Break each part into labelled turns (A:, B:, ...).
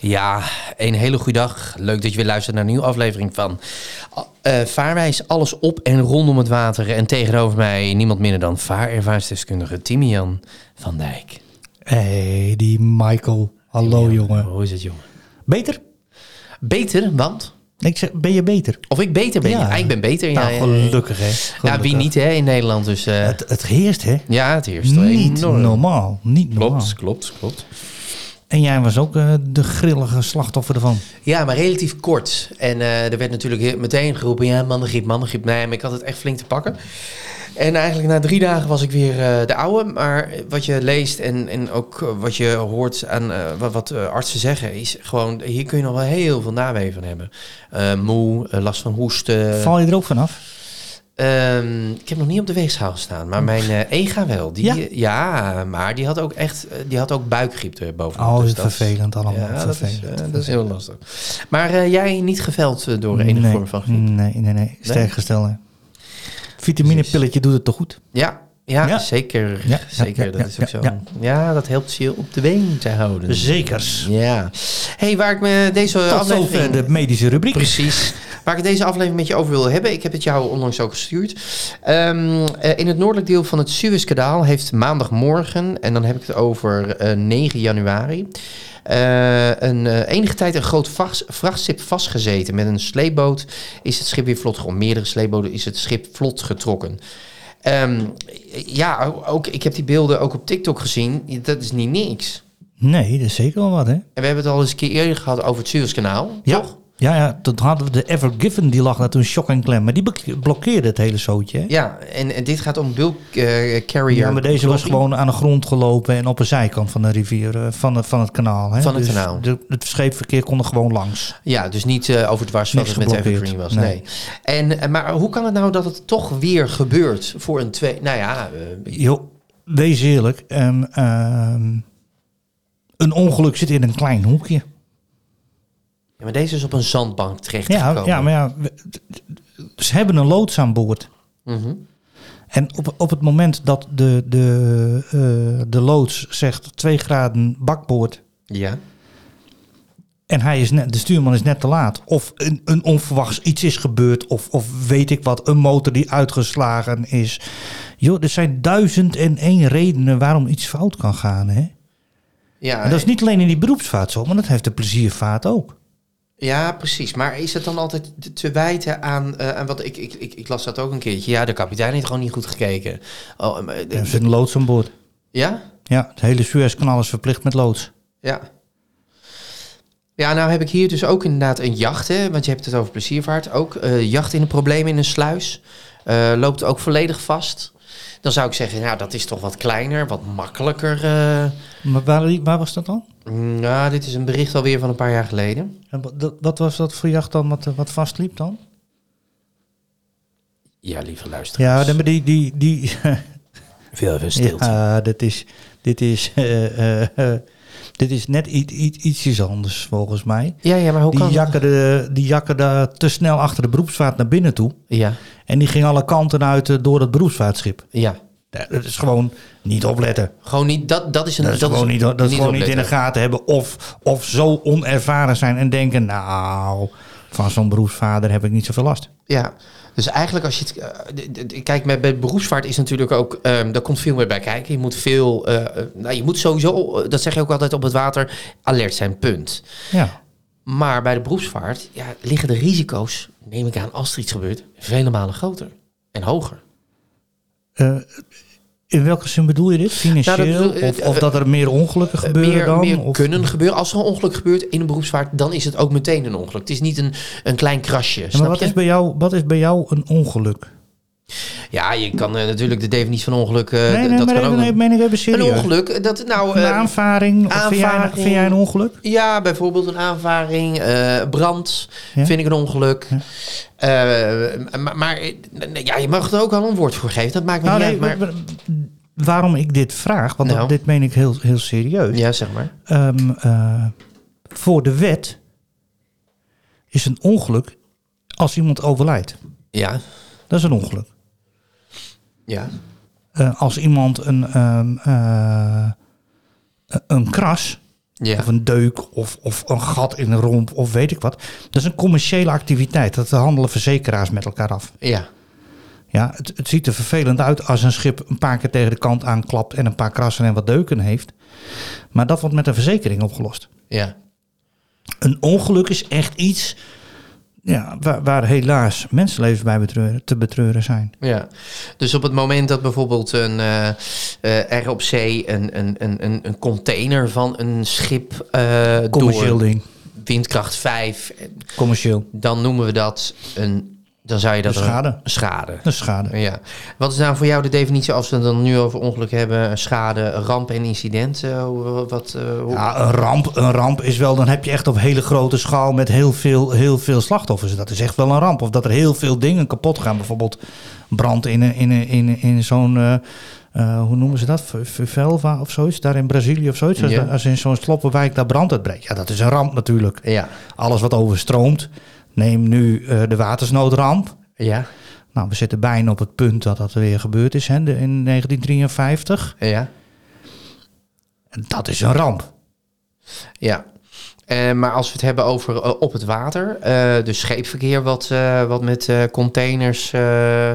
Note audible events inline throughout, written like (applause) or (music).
A: Ja, een hele goede dag. Leuk dat je weer luistert naar een nieuwe aflevering van eh, Vaarwijs. Alles op en rondom het water. En tegenover mij niemand minder dan vaarervaringsdeskundige Timian van Dijk.
B: Hey, die Michael. Hallo jongen.
A: Hoe is het, jongen?
B: Beter?
A: Beter, want?
B: Ik zeg, ben je beter?
A: Of ik beter ben. Ja,
B: Ja.
A: ik ben beter.
B: Nou,
A: ja, ja, ja.
B: gelukkig hè.
A: Ja, wie
B: Gelukkig.
A: niet hè, in Nederland. Dus eh,
B: Het, het heerst hè.
A: ja, het eerst.
B: Niet normaal. Niet normaal.
A: Klopt, klopt, klopt.
B: En jij was ook eh, de grillige slachtoffer ervan.
A: Ja, maar relatief kort. En eh, er werd natuurlijk he- meteen geroepen, ja, mannengriep, mannengriep. Nee, maar ik had het echt flink te pakken. En eigenlijk na drie dagen was ik weer eh, de oude. Maar wat je leest en, en ook eh, wat je hoort aan eh, wat, wat eh, artsen zeggen... is gewoon, hier kun je nog wel heel veel naweeën van hebben. Eh, moe, eh, last van hoesten.
B: Val je er ook vanaf?
A: Ehm, ik heb nog niet op de weegschaal gestaan, maar mijn eh, Ega wel. Die,
B: Ja?
A: ja? maar die had ook echt, eh, die had ook buikgriep Dus erboven.
B: Oh, is het vervelend allemaal.
A: Ja, dat is,
B: vervelend.
A: eh, dat is heel lastig. Maar eh, jij niet geveld eh, door enige
B: nee, Mm.
A: vorm van griep?
B: Nee, nee, nee. Sterk gestel hè. Vitaminepilletje doet het toch goed?
A: Ja, ja,
B: Ja.
A: zeker.
B: Ja, ja,
A: zeker,
B: ja,
A: dat
B: ja,
A: is ook zo.
B: ja,
A: Ja.
B: ja.
A: dat helpt je op de been te houden.
B: Zekers.
A: Ja. hey, waar ik me deze
B: Tot
A: aflevering...
B: zover de medische rubriek.
A: Precies. Waar ik het deze aflevering met je over wil hebben, ik heb het jou onlangs ook gestuurd. Ehm, eh, in het noordelijk deel van het Suezkanaal heeft maandagmorgen, en dan heb ik het over eh, 9 januari, eh, een, eh, enige tijd een groot vachts- vrachtschip vastgezeten. Met een sleepboot is het schip weer vlot getrokken. Meerdere sleepboten is het schip vlot getrokken. Ehm, ja, ook, ik heb die beelden ook op TikTok gezien. Dat is niet niks.
B: Nee, dat is zeker wel wat hè.
A: En we hebben het al eens een keer eerder gehad over het Suezkanaal,
B: Ja.
A: toch?
B: Ja, ja, toen hadden we de Ever Given, die lag daar toen shock en klem. Maar die blok- blokkeerde het hele zootje. hè?
A: Ja, en, en dit gaat om bulk eh, carrier.
B: Ja, maar deze was
A: clothing.
B: gewoon aan de grond gelopen en op een zijkant van de rivier, eh, van, het- van het kanaal. Hè? Dus
A: Van het kanaal.
B: de- het scheepverkeer kon er gewoon langs.
A: Ja, dus niet eh overdwars zoals
B: Niks
A: het met
B: geblokkeerd.
A: Evergreen was. Nee.
B: Nee.
A: En, eh, maar hoe kan het nou dat het toch weer gebeurt voor een twee... Nou ja, eh,
B: Jo, wees eerlijk, ehm, ehm, een ongeluk zit in een klein hoekje.
A: maar deze is op een zandbank
B: Ja,
A: terechtgekomen.
B: ja, maar ja, we- ze hebben een loods aan boord.
A: Mhm.
B: En op, op het moment dat de, de, eh, de loods zegt 2 graden bakboord
A: ja.
B: En hij is net, de stuurman is net te laat. Of een, een onverwachts iets is gebeurd. Of, of weet ik wat, een motor die uitgeslagen is. Joh, er zijn duizend en één redenen waarom iets fout kan gaan. Hè?
A: Ja,
B: En dat is niet alleen in die beroepsvaart zo, maar dat heeft de pleziervaart ook.
A: eh, ja, precies. Maar is het dan altijd te- te wijten aan... eh aan wat ik, ik, ik, ik las dat ook een keertje. Ja, de kapitein heeft gewoon niet goed gekeken. Oh, maar-
B: Er zit een loods aan boord.
A: ja?
B: Ja, het hele Suezkanaal is verplicht met loods.
A: Ja. Ja, nou heb ik hier dus ook inderdaad een jacht, hè, want je hebt het over pleziervaart ook. eh, jacht in een probleem in een sluis. eh, loopt ook volledig vast. Dan zou ik zeggen, nou dat is toch wat kleiner, wat makkelijker. eh.
B: Maar waar, waar was dat dan?
A: Mm, Nou, dit is een bericht alweer van een paar jaar geleden.
B: En wa- dat- Wat was dat voor jacht dan, wat, eh, wat vastliep dan?
A: Ja, lieve luisteraars.
B: Ja, de- maar die, die, die, (laughs)
A: Veel even stilte.
B: Ja, dit is, dit is, (laughs) eh, eh, eh, dit is net i- i- ietsjes anders volgens mij.
A: Ja, ja, maar hoe
B: Die
A: kan dat?
B: jakkerde, die jakkerde te snel achter de beroepsvaart naar binnen toe.
A: Ja,
B: En die ging alle kanten uit eh, door het beroepsvaartschip.
A: ja.
B: Ja, Dat is gewoon niet opletten.
A: Gewoon niet, dat, dat is een...
B: Dat is gewoon, niet, dat is gewoon niet in de
A: opletten.
B: gaten hebben. Of, of zo onervaren zijn en denken... nou, van zo'n beroepsvader heb ik niet zoveel last.
A: Ja, dus eigenlijk als je het... eh, d- d- d- kijk, met, met beroepsvaart is natuurlijk ook... ehm, daar komt veel meer bij kijken. Je moet veel... eh, eh, nou, je moet sowieso, eh, dat zeg je ook altijd op het water, alert zijn, punt.
B: Ja,
A: Maar bij de beroepsvaart ja, liggen de risico's, neem ik aan, als er iets gebeurt, vele malen groter en hoger.
B: Eh, in welke zin bedoel je dit? Financieel?
A: bedoel- eh,
B: of, of dat er meer ongelukken
A: Eh,
B: gebeuren
A: meer,
B: dan?
A: meer
B: Of-
A: kunnen gebeuren. Als er een ongeluk gebeurt in een beroepsvaart, dan is het ook meteen een ongeluk. Het is niet een, een klein krasje,
B: Ja, maar
A: snap
B: wat
A: je? Eh,
B: is, bij jou, wat is bij jou een ongeluk?
A: Ja, je kan eh, natuurlijk de definitie van ongeluk... eh,
B: nee,
A: d-
B: nee,
A: dat
B: maar
A: kan
B: even,
A: ook
B: nee,
A: nog.
B: meen ik even
A: Een
B: serieus.
A: ongeluk, dat nou...
B: Een
A: eh,
B: aanvaring. of Vind, jij,
A: aanvaring.
B: vind jij een ongeluk?
A: ja, bijvoorbeeld een aanvaring, eh, brand,
B: Ja.
A: vind ik een ongeluk.
B: Ja.
A: Eh, maar maar, eh, nee, ja, je mag er ook wel een woord voor geven, dat maakt me
B: Nou,
A: niet
B: nee,
A: uit. Maar,
B: wa- wa- waarom ik dit vraag, want dat-
A: Nou.
B: dit meen ik heel, heel serieus.
A: ja, zeg maar.
B: Ehm, eh, voor de wet is een ongeluk als iemand overlijdt.
A: Ja,
B: Dat is een ongeluk.
A: ja.
B: Eh, als iemand een, ehm, eh, e- een kras
A: Ja.
B: of een deuk of, of een gat in een romp of weet ik wat. Dat is een commerciële activiteit. Dat handelen verzekeraars met elkaar af.
A: ja.
B: Ja, het, het ziet er vervelend uit als een schip een paar keer tegen de kant aanklapt en een paar krassen en wat deuken heeft. Maar dat wordt met een verzekering opgelost.
A: Ja.
B: Een ongeluk is echt iets ja, waar, waar helaas mensenlevens bij betreuren, te betreuren zijn.
A: Ja, dus op het moment dat bijvoorbeeld een, eh eh, er op zee een, een, een, een- een container van een schip eh
B: Commercieel
A: door
B: ding.
A: windkracht 5, eh,
B: Commercieel.
A: dan noemen we dat een, dan zou je dat
B: Een schade.
A: een schade.
B: Dat is schade.
A: Ja. Wat is nou voor jou de definitie als we het dan nu over ongeluk hebben, schade, ramp en incident? Eh, hoe- wat, eh, hoe-
B: Ja, een ramp, een ramp is wel, dan heb je echt op hele grote schaal met heel veel, heel veel slachtoffers. Dat is echt wel een ramp. Of dat er heel veel dingen kapot gaan. Bijvoorbeeld brand in, een- in, een- in, een- in zo'n, eh, eh, hoe noemen ze dat? V- v- Velva of zoiets, daar in Brazilië of zoiets. Als,
A: Ja.
B: als in zo'n sloppenwijk daar brand uitbreekt. Ja, dat is een ramp natuurlijk.
A: ja.
B: Alles wat overstroomt. Neem nu eh, de watersnoodramp.
A: Ja.
B: Nou, we zitten bijna op het punt dat dat weer gebeurd is hè, de- in 1953.
A: Ja.
B: En dat is een ramp.
A: Ja. Eh, maar als we het hebben over eh, op het water, eh, dus scheepverkeer wat, eh, wat met eh, containers eh, eh,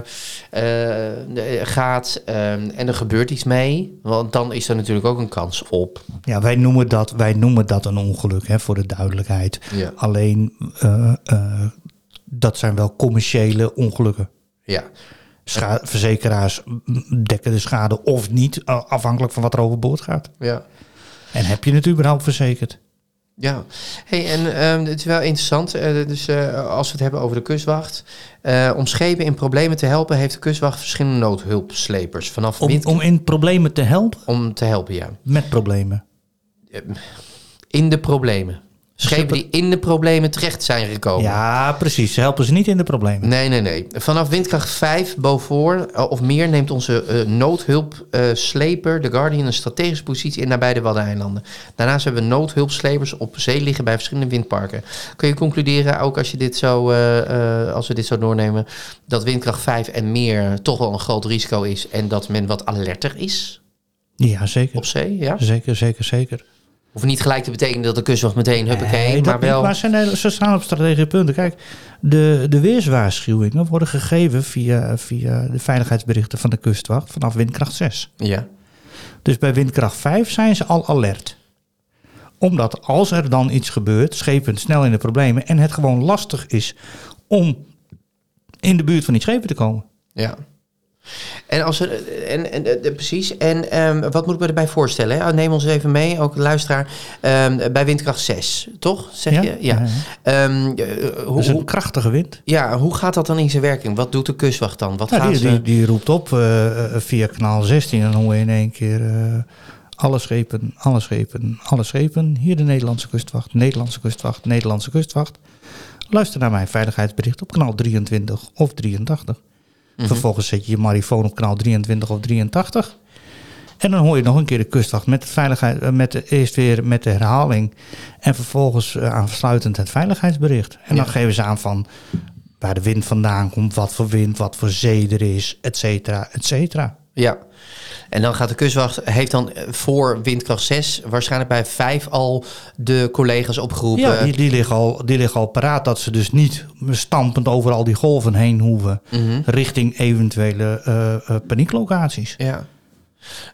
A: eh, gaat ehm, en er gebeurt iets mee, want dan is er natuurlijk ook een kans op.
B: Ja, wij noemen dat, wij noemen dat een ongeluk, hè, voor de duidelijkheid.
A: Ja.
B: Alleen, eh, eh, dat zijn wel commerciële ongelukken.
A: Ja,
B: Scha- verzekeraars mm, dekken de schade of niet, a- afhankelijk van wat er overboord gaat.
A: ja.
B: En heb je het überhaupt verzekerd?
A: Ja, hey, en ehm, het is wel interessant. eh, dus eh, als we het hebben over de kustwacht. eh, om schepen in problemen te helpen, heeft de kustwacht verschillende noodhulpslepers. Vanaf
B: Om,
A: wind-
B: om in problemen te helpen?
A: om te helpen, ja.
B: Met problemen.
A: In de problemen. Schepen die in de problemen terecht zijn gekomen.
B: Dus Ja, precies. Ze helpen ze niet in de problemen.
A: Nee, nee, nee. Vanaf windkracht 5 bovenvoor eh, of meer neemt onze eh, noodhulp noodhulpsleper, de Guardian, een strategische positie in nabij de Waddeneilanden. Daarnaast hebben we noodhulpslepers op zee liggen bij verschillende windparken. Kun je concluderen, ook als, je dit zo, eh, eh, als we dit zo doornemen, dat windkracht 5 en meer toch wel een groot risico is en dat men wat alerter is
B: Ja,
A: op
B: zeker.
A: zee? Ja?
B: Zeker, zeker, zeker.
A: Of niet gelijk te betekenen dat de kustwacht meteen, huppakee,
B: Nee, dat
A: maar
B: niet,
A: wel...
B: maar ze, nee, ze staan op strategische punten. Kijk, de, de weerswaarschuwingen worden gegeven via, via de veiligheidsberichten van de kustwacht vanaf windkracht 6.
A: Ja,
B: Dus bij windkracht 5 zijn ze al alert. Omdat als er dan iets gebeurt, schepen snel in de problemen en het gewoon lastig is om in de buurt van die schepen te komen.
A: Ja. En als er, en, en, eh, precies. En ehm, wat moet ik me erbij voorstellen? hè? Oh, Neem ons even mee, ook de luisteraar, ehm, bij windkracht 6, toch? Zeg je? Ja. Ehm, eh,
B: Dat
A: hoe,
B: is een
A: hoe-
B: krachtige wind.
A: ja, hoe gaat dat dan in zijn werking? Wat doet de kustwacht dan? Wat
B: Ja,
A: gaat
B: Nou, die,
A: ze...
B: die, die roept op eh, eh, via kanaal 16 en dan hoor je in één keer eh, alle schepen, alle schepen, alle schepen. Hier de Nederlandse kustwacht, Nederlandse kustwacht, Nederlandse kustwacht. Luister naar mijn veiligheidsbericht op kanaal 23 of 83.
A: Mhm.
B: Vervolgens zet je je marifoon op kanaal 23 of 83. En dan hoor je nog een keer de kustwacht met, het veiligheid, eh, met de, eerst weer met de herhaling. En vervolgens eh, aansluitend het veiligheidsbericht. En dan geven ze aan van waar de wind vandaan komt, wat voor wind, wat voor zee er is, et cetera, et cetera.
A: Ja. En dan gaat de kustwacht, heeft dan eh, voor windkracht 6 waarschijnlijk bij 5 al de collega's opgeroepen.
B: Ja, die, die, liggen al, die liggen al paraat dat ze dus niet stampend over al die golven heen hoeven.
A: Mhm.
B: Richting eventuele eh, eh, panieklocaties.
A: Ja.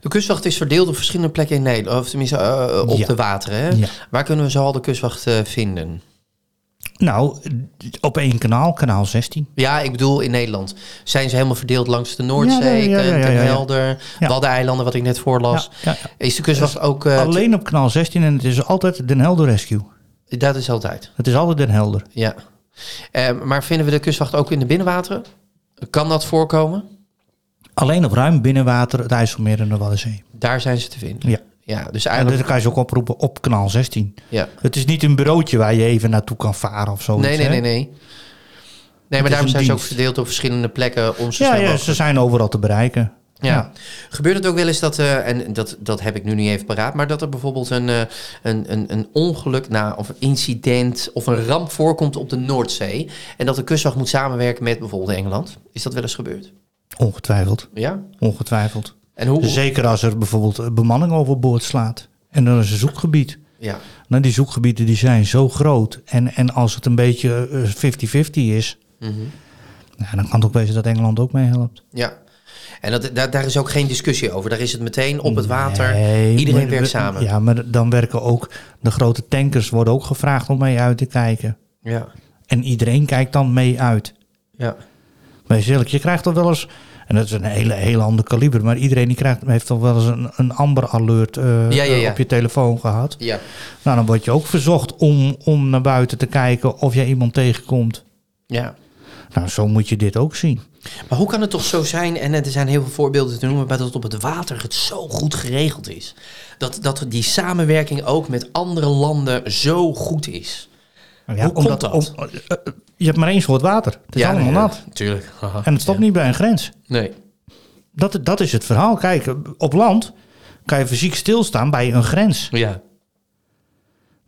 A: De kustwacht is verdeeld op verschillende plekken in Nederland, of tenminste eh, op
B: Ja.
A: de wateren. Hè?
B: Ja.
A: Waar kunnen we zo al de kustwacht eh, vinden?
B: Nou, op één kanaal, kanaal 16.
A: Ja, ik bedoel in Nederland. Zijn ze helemaal verdeeld langs de Noordzee,
B: Ja, ja, ja, ja, ja, ja.
A: Helder,
B: Ja.
A: Waddeneilanden, wat ik net voorlas.
B: Ja, ja,
A: Is de kustwacht ook... eh,
B: Alleen op kanaal 16 en het is altijd Den Helder Rescue.
A: t- Dat is altijd, Ehm,
B: Het is altijd Den Helder.
A: ja. Eh, maar vinden we de kustwacht ook in de binnenwateren? Kan dat voorkomen?
B: Alleen op ruim binnenwater het IJsselmeer en de Waddenzee.
A: Daar zijn ze te vinden.
B: Ja.
A: Ja, dus
B: En
A: eigenlijk...
B: dat kan je ze ook oproepen op kanaal 16.
A: Ja.
B: Het is niet een bureautje waar je even naartoe kan varen of zo.
A: Nee, nee, nee, nee. Nee, maar
B: is
A: daarom
B: een
A: zijn ze ook
B: dienst.
A: verdeeld op verschillende plekken om zo
B: Ja,
A: snel
B: ja,
A: mogelijk-
B: ze zijn overal te bereiken.
A: Ja. Gebeurt het ook wel eens dat, eh, en dat, dat heb ik nu niet even paraat, maar dat er bijvoorbeeld een, eh, een, een, een ongeluk na, of een incident of een ramp voorkomt op de Noordzee. En dat de kustwacht moet samenwerken met bijvoorbeeld Engeland. Is dat wel eens gebeurd?
B: Ongetwijfeld.
A: Ja.
B: Ongetwijfeld.
A: En hoe?
B: Zeker als er bijvoorbeeld eh, bemanning overboord slaat. En dan is een zoekgebied.
A: ja.
B: Nou, die zoekgebieden die zijn zo groot. En, en als het een beetje eh, 50-50 is,
A: Mhm.
B: nou, dan kan het ook wezen dat Engeland ook meehelpt.
A: ja. En dat, daar, daar is ook geen discussie over. Daar is het meteen op het water.
B: Nee,
A: Iedereen
B: maar-
A: werkt samen. Ja.
B: Ja, maar dan werken ook de grote tankers worden ook gevraagd om mee uit te kijken.
A: Ja.
B: En iedereen kijkt dan mee uit.
A: ja.
B: Maar eerlijk, je krijgt toch wel eens, en dat is een hele, hele ander kaliber, maar iedereen die krijgt, heeft toch wel eens een, een Amber Alert eh,
A: Ja, ja, ja.
B: op je telefoon gehad.
A: ja.
B: Nou, dan word je ook verzocht om, om naar buiten te kijken of jij iemand tegenkomt. Nou, zo moet je dit ook zien.
A: Maar hoe kan het toch zo zijn, en er zijn heel veel voorbeelden te noemen, maar dat het op het water het zo goed geregeld is. Dat, dat die samenwerking ook met andere landen zo goed is.
B: Ja,
A: Hoe komt dat?
B: om- eh, eh, je hebt maar één soort water. Het is allemaal nat.
A: Tuurlijk. Haha.
B: (laughs) En het stopt
A: Ja.
B: niet bij een grens.
A: Nee.
B: Dat, dat is het verhaal. Kijk, op land kan je fysiek stilstaan bij een grens.
A: Ja.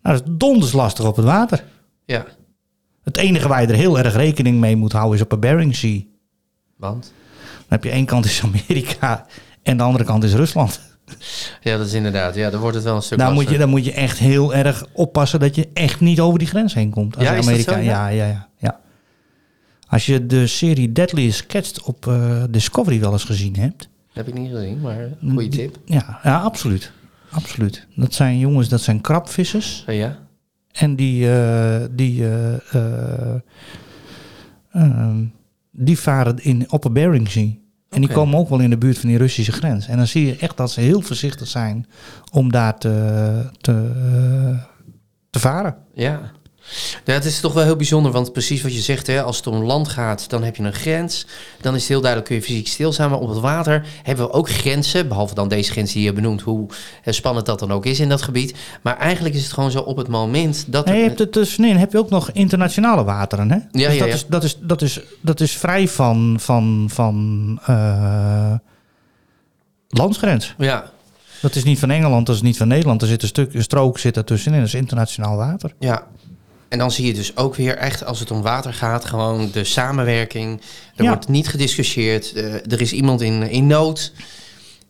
B: Nou, dat is donders lastig op het water.
A: Ja.
B: Het enige waar je er heel erg rekening mee moet houden is op een Bering Sea.
A: Want?
B: Dan heb je één kant is (laughs) Amerika en de andere kant is Rusland.
A: Ja, dat is inderdaad. Ja, dan wordt het wel een stuk
B: Daar Nou, moet, je,
A: lastiger.
B: daar moet je echt heel erg oppassen dat je echt niet over die grens heen komt. Als
A: Ja, is dat
B: Amerika,
A: zo, ja?
B: ja? Ja, ja, ja. Als je de serie Deadly Sketched op eh, Discovery wel eens gezien hebt.
A: Dat heb ik niet gezien, maar een goede tip.
B: Ja, ja absoluut. absoluut. Dat zijn jongens, dat zijn krabvissers.
A: Eh, ja.
B: En die, eh, die, eh, eh, ehm, die varen in Upper Bering Sea. En die
A: Oké.
B: komen ook wel in de buurt van die Russische grens. En dan zie je echt dat ze heel voorzichtig zijn om daar te, te, eh, te varen.
A: Ja. Ja, het is toch wel heel bijzonder, want precies wat je zegt, hè, als het om land gaat, dan heb je een grens. Dan is het heel duidelijk, kun je fysiek stilstaan. Maar op het water hebben we ook grenzen, behalve dan deze grens die je benoemt, hoe eh, spannend dat dan ook is in dat gebied. Maar eigenlijk is het gewoon zo op het moment dat...
B: En je
A: er-
B: hebt het tussenin heb je ook nog internationale wateren. Hè? dus
A: dus- ja,
B: dat,
A: ja.
B: Is, dat, is, dat, is, dat is vrij van, van, van eh, landsgrens.
A: Ja,
B: Dat is niet van Engeland, dat is niet van Nederland. Er zit een stuk een strook zit er tussenin. Dat is internationaal water.
A: ja. En dan zie je dus ook weer echt, als het om water gaat, gewoon de samenwerking. Er
B: Ja.
A: wordt niet gediscussieerd. eh, er is iemand in, in nood.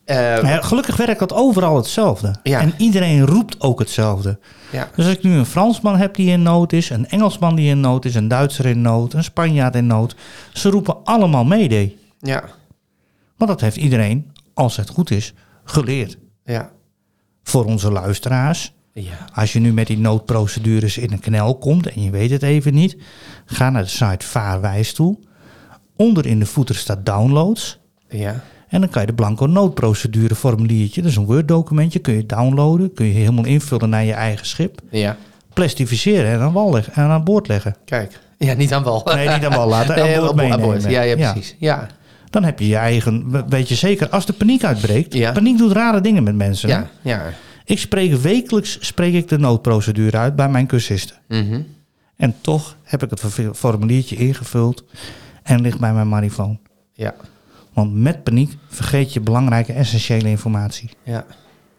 A: Eh,
B: Maar ja, gelukkig werkt dat overal hetzelfde.
A: Ja.
B: En iedereen roept ook hetzelfde.
A: ja.
B: Dus als ik nu een Fransman heb die in nood is, een Engelsman die in nood is, een Duitser in nood, een Spanjaard in nood. Ze roepen allemaal mede.
A: ja,
B: Want dat heeft iedereen, als het goed is, geleerd.
A: ja,
B: Voor onze luisteraars.
A: ja.
B: Als je nu met die noodprocedures in een knel komt en je weet het even niet, ga naar de site Vaarwijs toe. Onder in de voeter staat downloads.
A: Ja,
B: En dan kan je de blanco noodprocedure formuliertje, dat is een Word documentje, kun je downloaden, kun je helemaal invullen naar je eigen schip,
A: ja.
B: plastificeren en aan, wal leggen, en aan boord leggen.
A: Kijk. Ja, niet aan wal. (laughs)
B: Nee, niet aan wal laten, aan
A: Nee,
B: boord
A: aan bo- aan boord.
B: meenemen.
A: Ja, ja,
B: Ja.
A: precies. Ja.
B: Dan heb je je eigen, we- weet je zeker, als de paniek uitbreekt,
A: Ja.
B: paniek doet rare dingen met mensen. hè?
A: Ja, ja.
B: Ik spreek wekelijks spreek ik de noodprocedure uit bij mijn cursisten.
A: Mhm.
B: En toch heb ik het verve- formuliertje ingevuld en ligt bij mijn marifoon.
A: Ja,
B: Want met paniek vergeet je belangrijke essentiële informatie.
A: ja.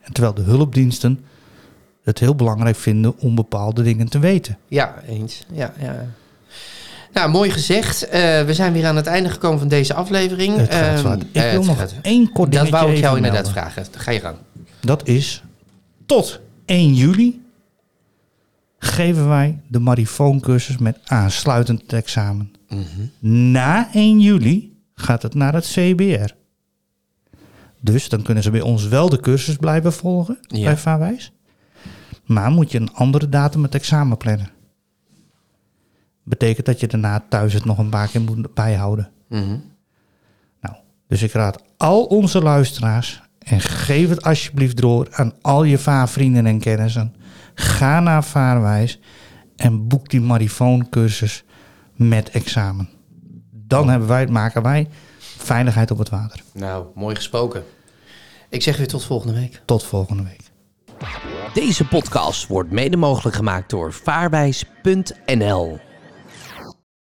B: En terwijl de hulpdiensten het heel belangrijk vinden om bepaalde dingen te weten.
A: Ja, eens. Ja, ja. Nou, mooi gezegd. Eh, we zijn weer aan het einde gekomen van deze aflevering.
B: Het gaat
A: Ehm,
B: zwart.
A: eh,
B: Ik wil
A: het
B: nog
A: gaat-
B: één kort
A: Dat
B: dingetje
A: wou ik jou
B: even
A: inderdaad
B: melden.
A: vragen. Ga je gang.
B: Dat is tot 1 juli geven wij de marifooncursus met aansluitend het examen.
A: Mhm.
B: Na 1 juli gaat het naar het CBR. Dus dan kunnen ze bij ons wel de cursus blijven volgen
A: Ja.
B: bij Vaarwijs. Maar moet je een andere datum het examen plannen. Betekent dat je daarna thuis het nog een paar keer moet bijhouden.
A: Mhm.
B: Nou, dus ik raad al onze luisteraars en geef het alsjeblieft door aan al je vaarvrienden en kennissen. Ga naar Vaarwijs en boek die marifooncursus met examen. Dan hebben wij, maken wij veiligheid op het water.
A: Nou, mooi gesproken. Ik zeg weer tot volgende week.
B: Tot volgende week.
A: Deze podcast wordt mede mogelijk gemaakt door vaarwijs.nl.